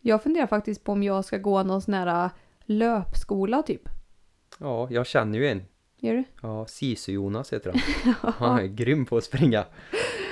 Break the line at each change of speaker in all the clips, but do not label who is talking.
Jag funderar faktiskt på om jag ska gå någon sån här äh, löpskola typ.
Ja, jag känner ju en.
Gör du?
Ja, Sisu-Jonas heter han. Han är grym på att springa.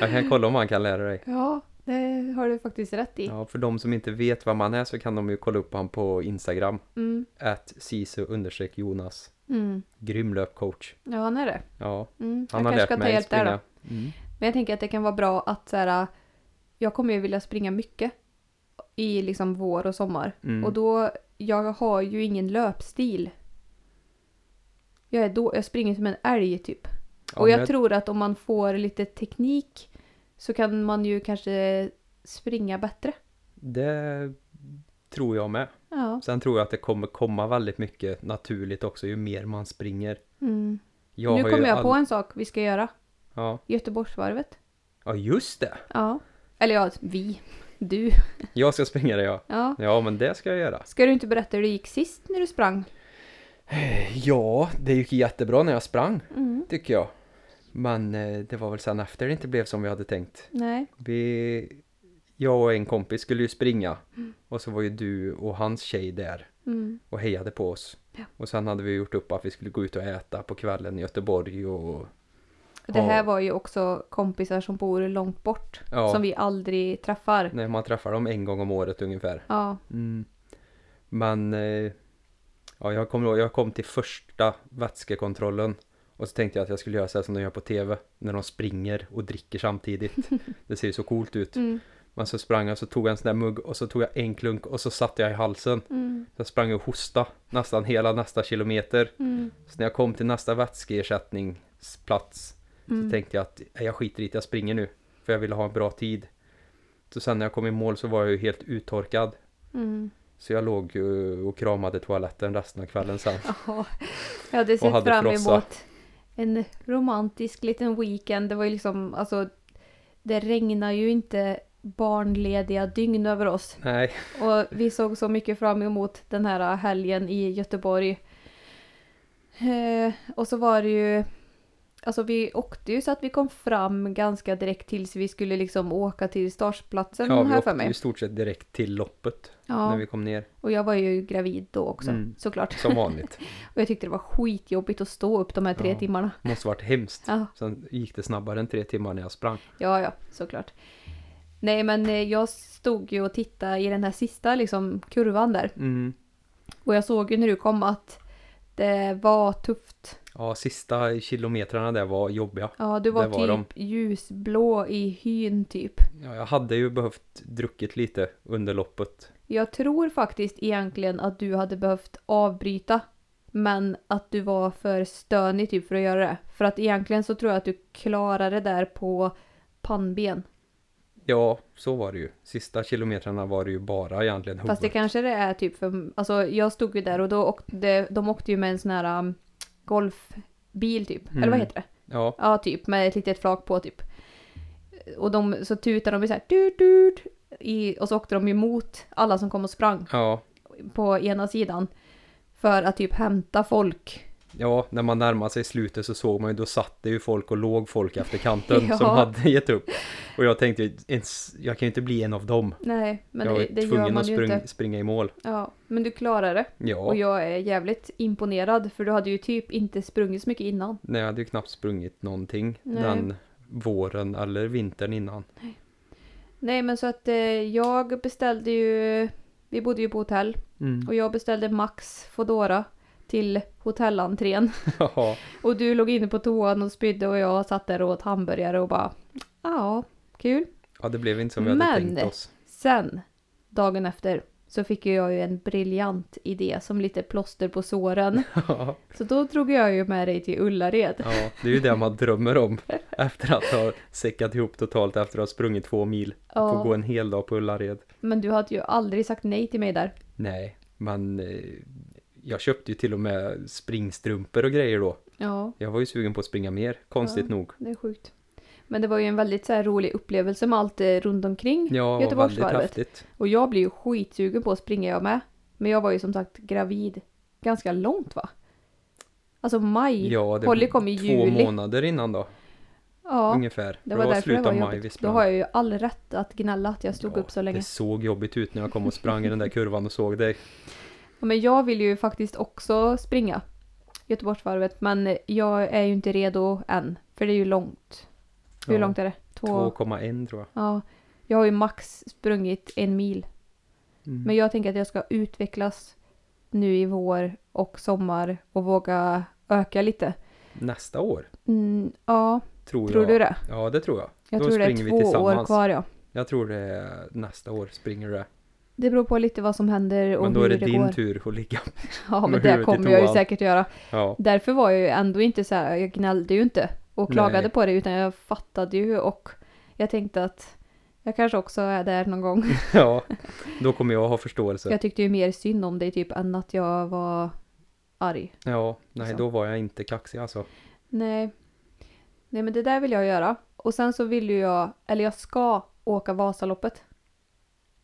Jag kan kolla om han kan lära dig.
Ja, det har du faktiskt rätt i.
Ja, för de som inte vet vem han är så kan de ju kolla upp han på Instagram.
Mm,
Att Sisu-Jonas.
mm.
Grym löpcoach.
Ja, han är det.
Ja,
Mm.
han
jag
har
kanske ska
lärt
ta
mig
hjälp där
springa.
då.
Mm.
Men jag tänker att det kan vara bra att så här, äh, jag kommer ju vilja springa mycket i liksom vår och sommar.
Mm.
Och då, jag har ju ingen löpstil. Jag, är då, jag springer som en älg typ.
Ja,
och jag
men-
tror att om man får lite teknik så kan man ju kanske springa bättre.
Det tror jag med.
Ja.
Sen tror jag att det kommer komma väldigt mycket naturligt också ju mer man springer.
Mm.
Jag
nu
har ju
kommer jag
all-
på en sak vi ska göra.
Ja.
Göteborgsvarvet.
ja, just det!
Ja. Eller ja, vi. Du.
Jag ska springa det ja.
Ja.
Ja, men det ska jag göra.
Ska du inte berätta hur det gick sist när du sprang?
Ja, det gick jättebra när jag sprang,
Mm.
tycker jag. Men eh, det var väl sen efter det inte blev som vi hade tänkt.
Nej.
Vi... Jag och en kompis skulle ju springa. Och så var ju du och hans tjej där
Mm.
och hejade på oss.
Ja.
Och sen hade vi gjort upp att vi skulle gå ut och äta på kvällen i Göteborg och...
Det
Ja.
här var ju också kompisar som bor långt bort.
Ja.
Som vi aldrig träffar.
När man träffar dem en gång om året ungefär.
Ja.
Mm. Men eh, ja, jag kommer ihåg, jag kom till första vätskekontrollen och så tänkte jag att jag skulle göra så här som de gör på TV när de springer och dricker samtidigt. Det ser ju så coolt ut.
Mm.
Men så sprang jag så tog jag en sån där mugg och så tog jag en klunk och så satte jag i halsen.
Mm.
Så jag sprang och hosta nästan hela nästa kilometer.
Mm.
Så när jag kom till nästa vätskeersättningsplats så tänkte jag att "Nej, jag skiter i det, jag springer nu. För jag ville ha en bra tid. Så sen när jag kom i mål så var jag ju helt uttorkad.
Mm.
Så jag låg ju och kramade toaletten resten av kvällen sen.
Jaha. Jag hade sett
hade
fram
frossa.
emot en romantisk liten weekend. Det var ju liksom, alltså, det regnar ju inte barnlediga dygn över oss.
Nej,
Och vi såg så mycket fram emot den här helgen i Göteborg. Eh, och så var det ju... Alltså vi åkte ju så att vi kom fram ganska direkt tills vi skulle liksom åka till startplatsen
ja, vi
här för
åkte ju
mig.
i stort sett direkt till loppet
Ja,
när vi kom ner.
och jag var ju gravid då också
Mm.
såklart.
Som vanligt.
Och jag tyckte det var skitjobbigt att stå upp de här tre
Ja.
timmarna.
Måste varit hemskt.
Ja.
Sen gick det snabbare än tre timmar när jag sprang.
Ja, ja, såklart. Nej, men eh, jag stod ju och tittade i den här sista liksom, kurvan där.
Mm.
Och jag såg ju när du kom att det var tufft.
Ja, sista kilometrarna där var jobbiga.
Ja, du var,
Det var
typ ljusblå i hyn typ.
Ja, jag hade ju behövt druckit lite under loppet.
Jag tror faktiskt egentligen att du hade behövt avbryta. Men att du var för stönig typ för att göra det. För att egentligen så tror jag att du klarade det där på pannben.
Ja, så var det ju. Sista kilometrarna var det ju bara egentligen huvudet.
Fast det kanske det är typ för... Alltså jag stod ju där och då åkte, de åkte ju med en sån här um, golfbil typ. Eller
Mm.
vad heter det?
Ja,
Ja, typ med ett litet flak på typ. Och de, så tutade de ju såhär dut dut. I, och så åkte de ju mot alla som kom och sprang
ja,
på ena sidan. För att typ hämta folk.
ja, när man närmade sig slutet så såg man ju, då satt det ju folk och låg folk efter kanten
Ja.
som hade gett upp. Och jag tänkte, ju, ens, jag kan ju inte bli en av dem.
Nej, men
jag
det,
var
det gör
tvungen
man
att
ju
spring,
inte.
springa i mål.
Ja, men du klarar det.
Ja,
Och
jag...
jag är jävligt imponerad för du hade ju typ inte sprungit så mycket innan.
nej, jag hade ju knappt sprungit någonting
Nej.
den våren eller vintern innan.
Nej, men så att eh, jag beställde ju... Vi bodde ju på hotell
Mm.
och jag beställde Max Foodora till hotellentrén.
Ja,
Och du låg inne på toan och spydde och jag satt där och åt hamburgare och bara ja, kul.
ja, det blev inte som vi hade
Men-
tänkt oss.
Sen, dagen efter, så fick ju jag ju en briljant idé som lite plåster på såren.
ja,
Så då drog jag ju med dig till Ullared.
det är ju det man drömmer om efter att ha säckat ihop totalt efter att ha sprungit två mil. Få
Ja,
gå en hel dag på Ullared.
men du hade ju aldrig sagt nej till mig där.
Nej, men eh, jag köpte ju till och med springstrumpor och grejer då.
Ja,
Jag var ju sugen på att springa mer, konstigt nog.
det är sjukt. Men det var ju en väldigt så här rolig upplevelse med allt eh, runt omkring
Ja, och väldigt
Göteborgsvarvet.
häftigt.
Och jag blev ju skitsugen på att springa jag med. Men jag var ju som sagt gravid ganska långt va? Alltså maj.
Ja, det
Polly kom i
två
juli.
månader innan då.
Ja,
ungefär.
det var därför det
slutet
var
av maj vi
jobbigt. Då
sprang.
har jag ju all rätt att gnälla att jag stod
Ja,
upp så länge.
Det såg jobbigt ut när jag kom och sprang i den där kurvan och såg dig.
Ja, men jag vill ju faktiskt också springa Göteborgsvarvet men jag är ju inte redo än. För det är ju långt. Hur
Ja,
långt är det? Två?
2,1 tror jag.
Ja. Jag har ju max sprungit en mil.
Mm.
Men jag tänker att jag ska utvecklas nu i vår och sommar och våga öka lite.
Nästa år,
Mm, ja,
tror,
tror
jag.
du det?
Ja, det tror jag.
Jag
Då
tror det
springer
är
vi
två år
tillsammans.
kvar ja.
Jag tror det är nästa år springer du det.
Det beror på lite vad som händer och
Men då
hur
är det
det,
din
går.
tur att ligga.
Ja, men
med
det
huvudet i
kommer jag ju
toan.
säkert göra.
Ja,
Därför var jag ju ändå inte så här, jag gnällde ju inte och klagade
Nej.
på det utan jag fattade ju och jag tänkte att jag kanske också är där någon gång.
ja. Då kommer jag ha förståelse.
Jag tyckte ju mer synd om dig typ än att jag var arg.
Ja, nej
Så.
då var jag inte kaxig alltså.
Nej. Nej men det där vill jag göra. Och sen så vill ju jag, eller jag ska åka Vasaloppet.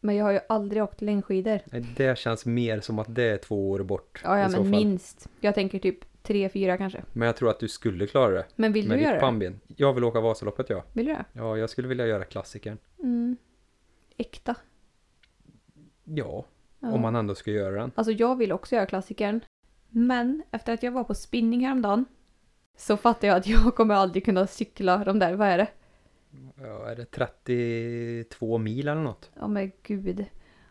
Men jag har ju aldrig åkt längdskidor.
Nej, Det känns mer som att det är två år bort
Ja, ja
i så
men
fall.
minst. Jag tänker typ tre, fyra kanske.
Men jag tror att du skulle klara det.
Men vill
med
du göra
ditt
det?
pannben. Jag vill åka Vasaloppet ja.
Vill du det?
Ja, jag skulle vilja göra klassikern.
Mm. Äkta.
Ja,
Ja.
om man ändå ska göra den.
Alltså jag vill också göra klassikern. Men efter att jag var på spinning häromdagen så fattade jag att jag kommer aldrig kunna cykla de där, vad är det?
Ja, är det 32 mil eller något?
Ja men gud.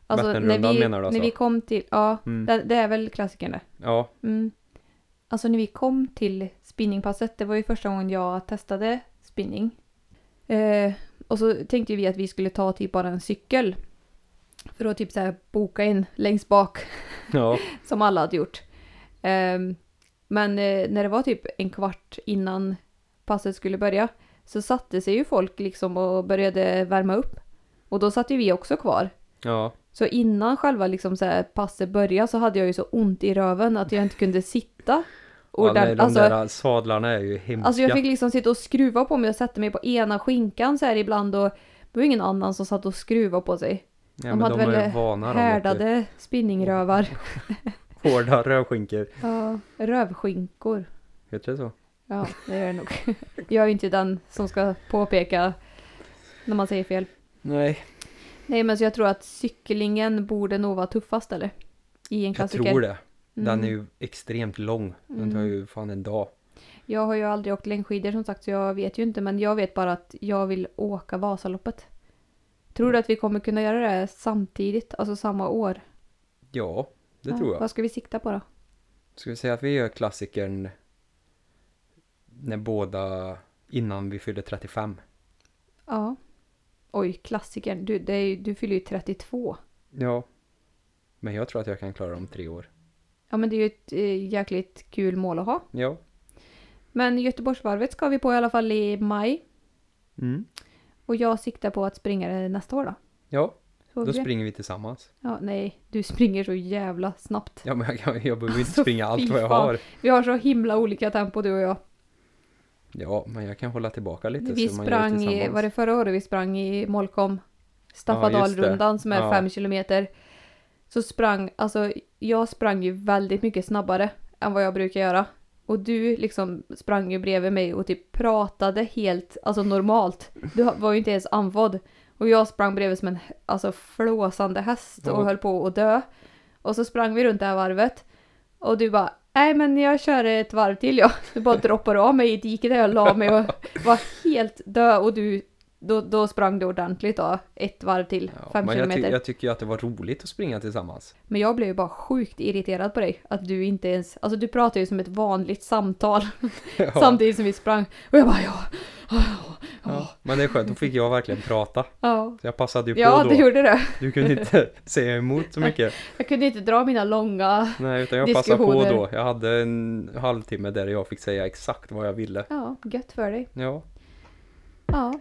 Vätternrundan
vi,
menar du alltså?
när vi kom till, ja,
Mm.
det, det är väl klassikern det.
Ja,
Mm. Alltså när vi kom till spinningpasset, det var ju första gången jag testade spinning. Eh, och så tänkte vi att vi skulle ta typ bara en cykel. För att typ så här boka in längst bak
ja,
som alla hade gjort. Ehm, men eh, när det var typ en kvart innan passet skulle börja så satte sig ju folk liksom och började värma upp. Och då satt ju vi också kvar.
ja.
Så innan själva liksom så här passet började så hade jag ju så ont i röven att jag inte kunde sitta.
ja nej,
ordentligt.
de
alltså,
där sadlarna är ju hemska.
alltså jag fick liksom sitta och skruva på mig och sätta mig på ena skinkan så här ibland och det var ju ingen annan som satt och skruvade på sig.
ja,
de
men
hade
de är
väl
ju vana de. vet du.
Härdade spinningrövar.
Hårda rövskinkor.
Ja, rövskinkor.
Heter det så?
Ja, det gör det nog. Jag är ju inte den som ska påpeka när man säger fel.
Nej,
Nej, men så jag tror att cyklingen borde nog vara tuffast, eller? I en
jag
klassiker.
tror det. Den
Mm.
är ju extremt lång. Den tar ju fan en dag.
Jag har ju aldrig åkt längdskidor som sagt, så jag vet ju inte. Men jag vet bara att jag vill åka Vasaloppet. Tror du att vi kommer kunna göra det samtidigt, alltså samma år?
Ja, det tror jag.
Vad ska vi sikta på då?
Ska vi säga att vi gör klassikern när båda, innan vi fyller 35?
Ja. Oj, klassikern. Du, det är, ju- du fyller ju 32.
Ja. Men jag tror att jag kan klara om tre år.
Ja, men det är ju ett eh, jäkligt kul mål att ha.
Ja.
Men Göteborgsvarvet ska vi på i alla fall i maj.
Mm.
Och jag siktar på att springa det nästa år då.
Ja,
Så får vi
då
se.
springer vi tillsammans.
ja, nej, du springer så jävla snabbt.
Ja, men jag, kan- jag behöver inte
Alltså,
springa allt
fy
vad jag
fan.
har.
Vi har så himla olika tempo du och jag.
Ja, men jag kan hålla tillbaka lite.
Vi
så man gör
sprang i,
tillsammans.
var det förra året vi sprang i Molkom?
Ja,
Staffadalrundan
just det.
som är
Ja.
fem kilometer. Så sprang, alltså jag sprang ju väldigt mycket snabbare än vad jag brukar göra. Och du liksom sprang ju bredvid mig och typ pratade helt, alltså normalt. Du var ju inte ens andfådd. Och jag sprang bredvid som en alltså, flåsande häst och
Ja.
höll på att dö. Och så sprang vi runt det här varvet. Och du bara, nej men jag kör ett varv till jag. Du bara droppade av mig i diket där jag la mig och var helt död. Och du, då, då sprang du ordentligt då, ett varv till,
Ja,
fem
men jag,
kilometer.
ty- jag tycker ju att det var roligt att springa tillsammans.
Men jag blev ju bara sjukt irriterad på dig. Att du inte ens, alltså du pratade ju som ett vanligt samtal
Ja,
samtidigt som vi sprang. Och jag bara ja, ja, ja.
ja. Men det är skönt, då fick jag verkligen prata.
ja.
Så jag passade ju på
Ja,
Typ då.
du gjorde det.
Du kunde inte säga emot så mycket.
Jag kunde inte dra mina långa...
Nej, utan jag passade på
Diskussioner.
då. Jag hade en halvtimme där jag fick säga exakt vad jag ville.
Ja, gött för dig.
Ja,
Ja.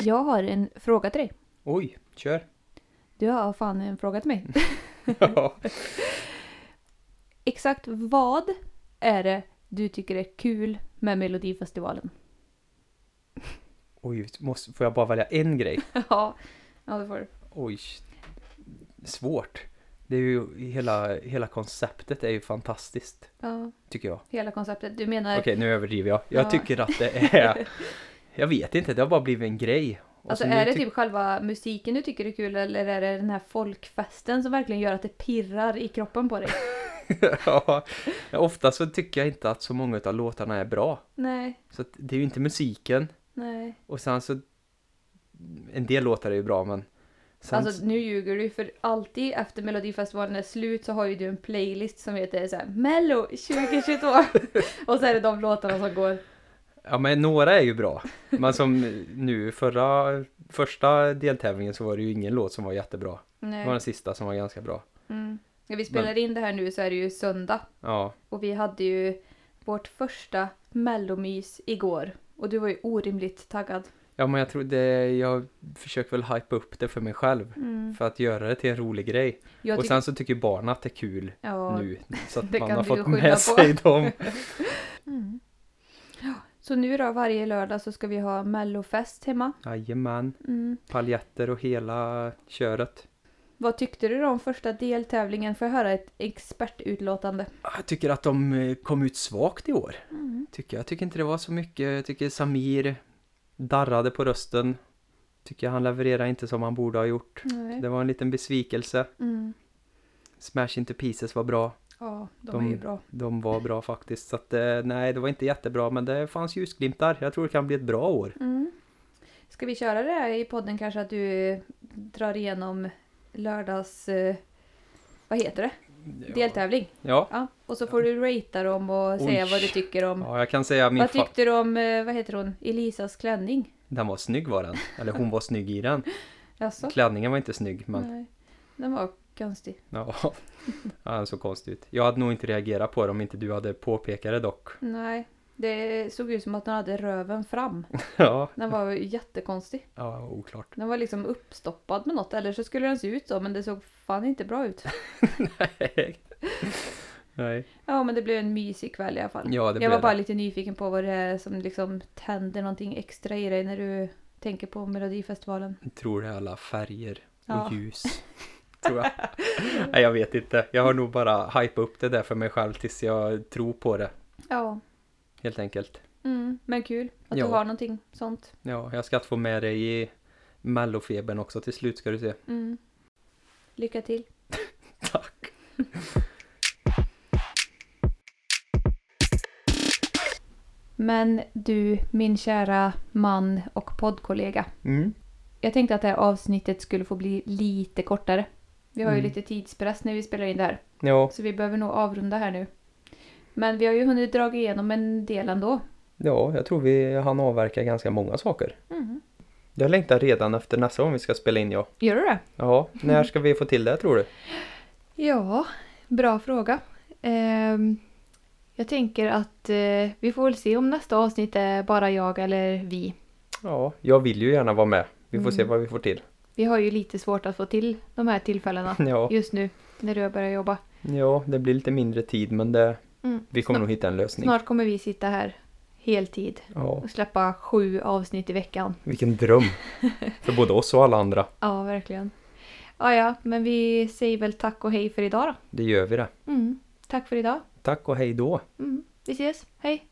Jag har en fråga till dig.
oj, kör.
Du har fan en fråga till mig.
Ja.
Exakt vad är det du tycker är kul med Melodifestivalen?
Oj, måste, får jag bara välja en grej?
Ja, ja det får du.
Oj, svårt. Det är ju hela, hela konceptet är ju fantastiskt,
Ja,
tycker jag.
hela konceptet. Du menar...
Okej, nu överdriver jag. Jag
Ja.
tycker att det är... Jag vet inte, det har bara blivit en grej. Och
Alltså
så nu
är det
tyck-
typ själva musiken du tycker är kul eller är det den här folkfesten som verkligen gör att det pirrar i kroppen på dig? typ-
ja, ofta så tycker jag inte att så många av låtarna är bra.
nej,
Så att det är ju inte musiken.
nej.
Och sen så... En del låtar är ju bra, men... Sen...
Alltså nu ljuger du för alltid efter Melodifestivalen är slut så har ju du en playlist som heter så här, Mello 2022 och så är det de låtarna som går.
Ja, men några är ju bra. Men som nu, förra... Första deltävlingen så var det ju ingen låt som var jättebra. Det var
Nej.
den sista som var ganska bra.
Mm. När vi spelar in det här nu så är det ju söndag
Ja,
och vi hade ju vårt första mellomys igår och du var ju orimligt taggad.
ja men jag tror det... Jag försöker väl hypa upp det för mig själv. För att göra det till en rolig grej.
Mm. Jag
och
tyck-
sen så tycker barnen att det är kul
ja,
nu. Så att
det
man
kan
har
du ju
fått
skylla
med
på.
sig dem.
Mm. Ja, Så nu då varje lördag så ska vi ha mellofest hemma.
Jajamän.
Mm.
Paljetter och hela köret.
Vad tyckte du då om första deltävlingen? Får jag höra ett expertutlåtande?
Ah, Jag tycker att de eh, kom ut svagt i år.
Mm.
Tycker jag. jag tycker inte det var så mycket. Jag tycker Samir darrade på rösten. Tycker han levererar inte som han borde ha gjort.
Nej.
Det var en liten besvikelse.
Mm.
Smash Into Pieces var bra.
Ja, de,
De-
är ju bra.
De var bra faktiskt. Så att, eh, nej, det var inte jättebra men det fanns ljusglimtar. Jag tror det kan bli ett bra år.
Mm. Ska vi köra det här i podden kanske att du eh, drar igenom lördags... Eh, vad heter det? Deltävling.
Ja.
Ja. Och så får du ratea dem och säga
Oj.
vad du tycker om...
ja, jag kan säga min
vad
fa-
tyckte du om, eh, vad heter hon, Elisas klänning?
Den var snygg var den. Eller hon var snygg i den.
Jaså?
Klänningen var inte snygg men
Nej. Den var konstig.
ja. ja den såg konstig ut. Jag hade nog inte reagerat på det om inte du hade påpekat det dock.
Nej, det såg ut som att den hade röven fram.
Ja,
Den var ju jättekonstig.
ja oklart.
Den var liksom uppstoppad med något, eller så skulle den se ut så, men det såg fan inte bra ut.
Nej. Nej.
Ja, men det blev en mysig kväll i alla fall.
Ja, det
jag
blev
var bara
det.
lite nyfiken på vad det är som liksom tänder någonting extra i dig när du tänker på Melodifestivalen.
Jag tror det är alla färger och
Ja.
ljus. Tror jag. Nej, jag vet inte. Jag har nog bara hypat upp det där för mig själv tills jag tror på det.
Ja,
Helt enkelt.
mm, men kul att
Ja.
du har någonting sånt.
Ja, jag ska få med dig i mellofebern också till slut ska du se.
Mm. Lycka till.
Tack!
Men du, min kära man och poddkollega.
Mm.
Jag tänkte att det här avsnittet skulle få bli lite kortare. Vi har ju
Mm.
lite tidspress när vi spelar in det här,
Ja,
så vi behöver nog avrunda här nu. Men vi har ju hunnit dra igenom en del ändå.
ja, jag tror vi hann avverka ganska många saker. Jag längtar redan efter nästa gång vi ska spela in ja.
Gör du det?
Ja, när ska vi få till det tror du?
Ja, bra fråga. Ehm, jag tänker att eh, vi får väl se om nästa avsnitt är bara jag eller vi.
Ja, jag vill ju gärna vara med. Vi får
Mm.
se vad vi får till.
Vi har ju lite svårt att få till de här tillfällena
Ja,
just nu när du har börjat jobba.
ja det blir lite mindre tid men det,
Mm.
vi kommer
Snart-
nog hitta en lösning.
Snart kommer vi sitta här heltid
Ja,
och släppa sju avsnitt i veckan.
vilken dröm! För både oss och alla andra.
Ja, verkligen. Ja, Ah, ja, men vi säger väl tack och hej för idag då.
Det gör vi det.
Mm. Tack för idag.
Tack och hej då!
Mm. Vi ses. Hej!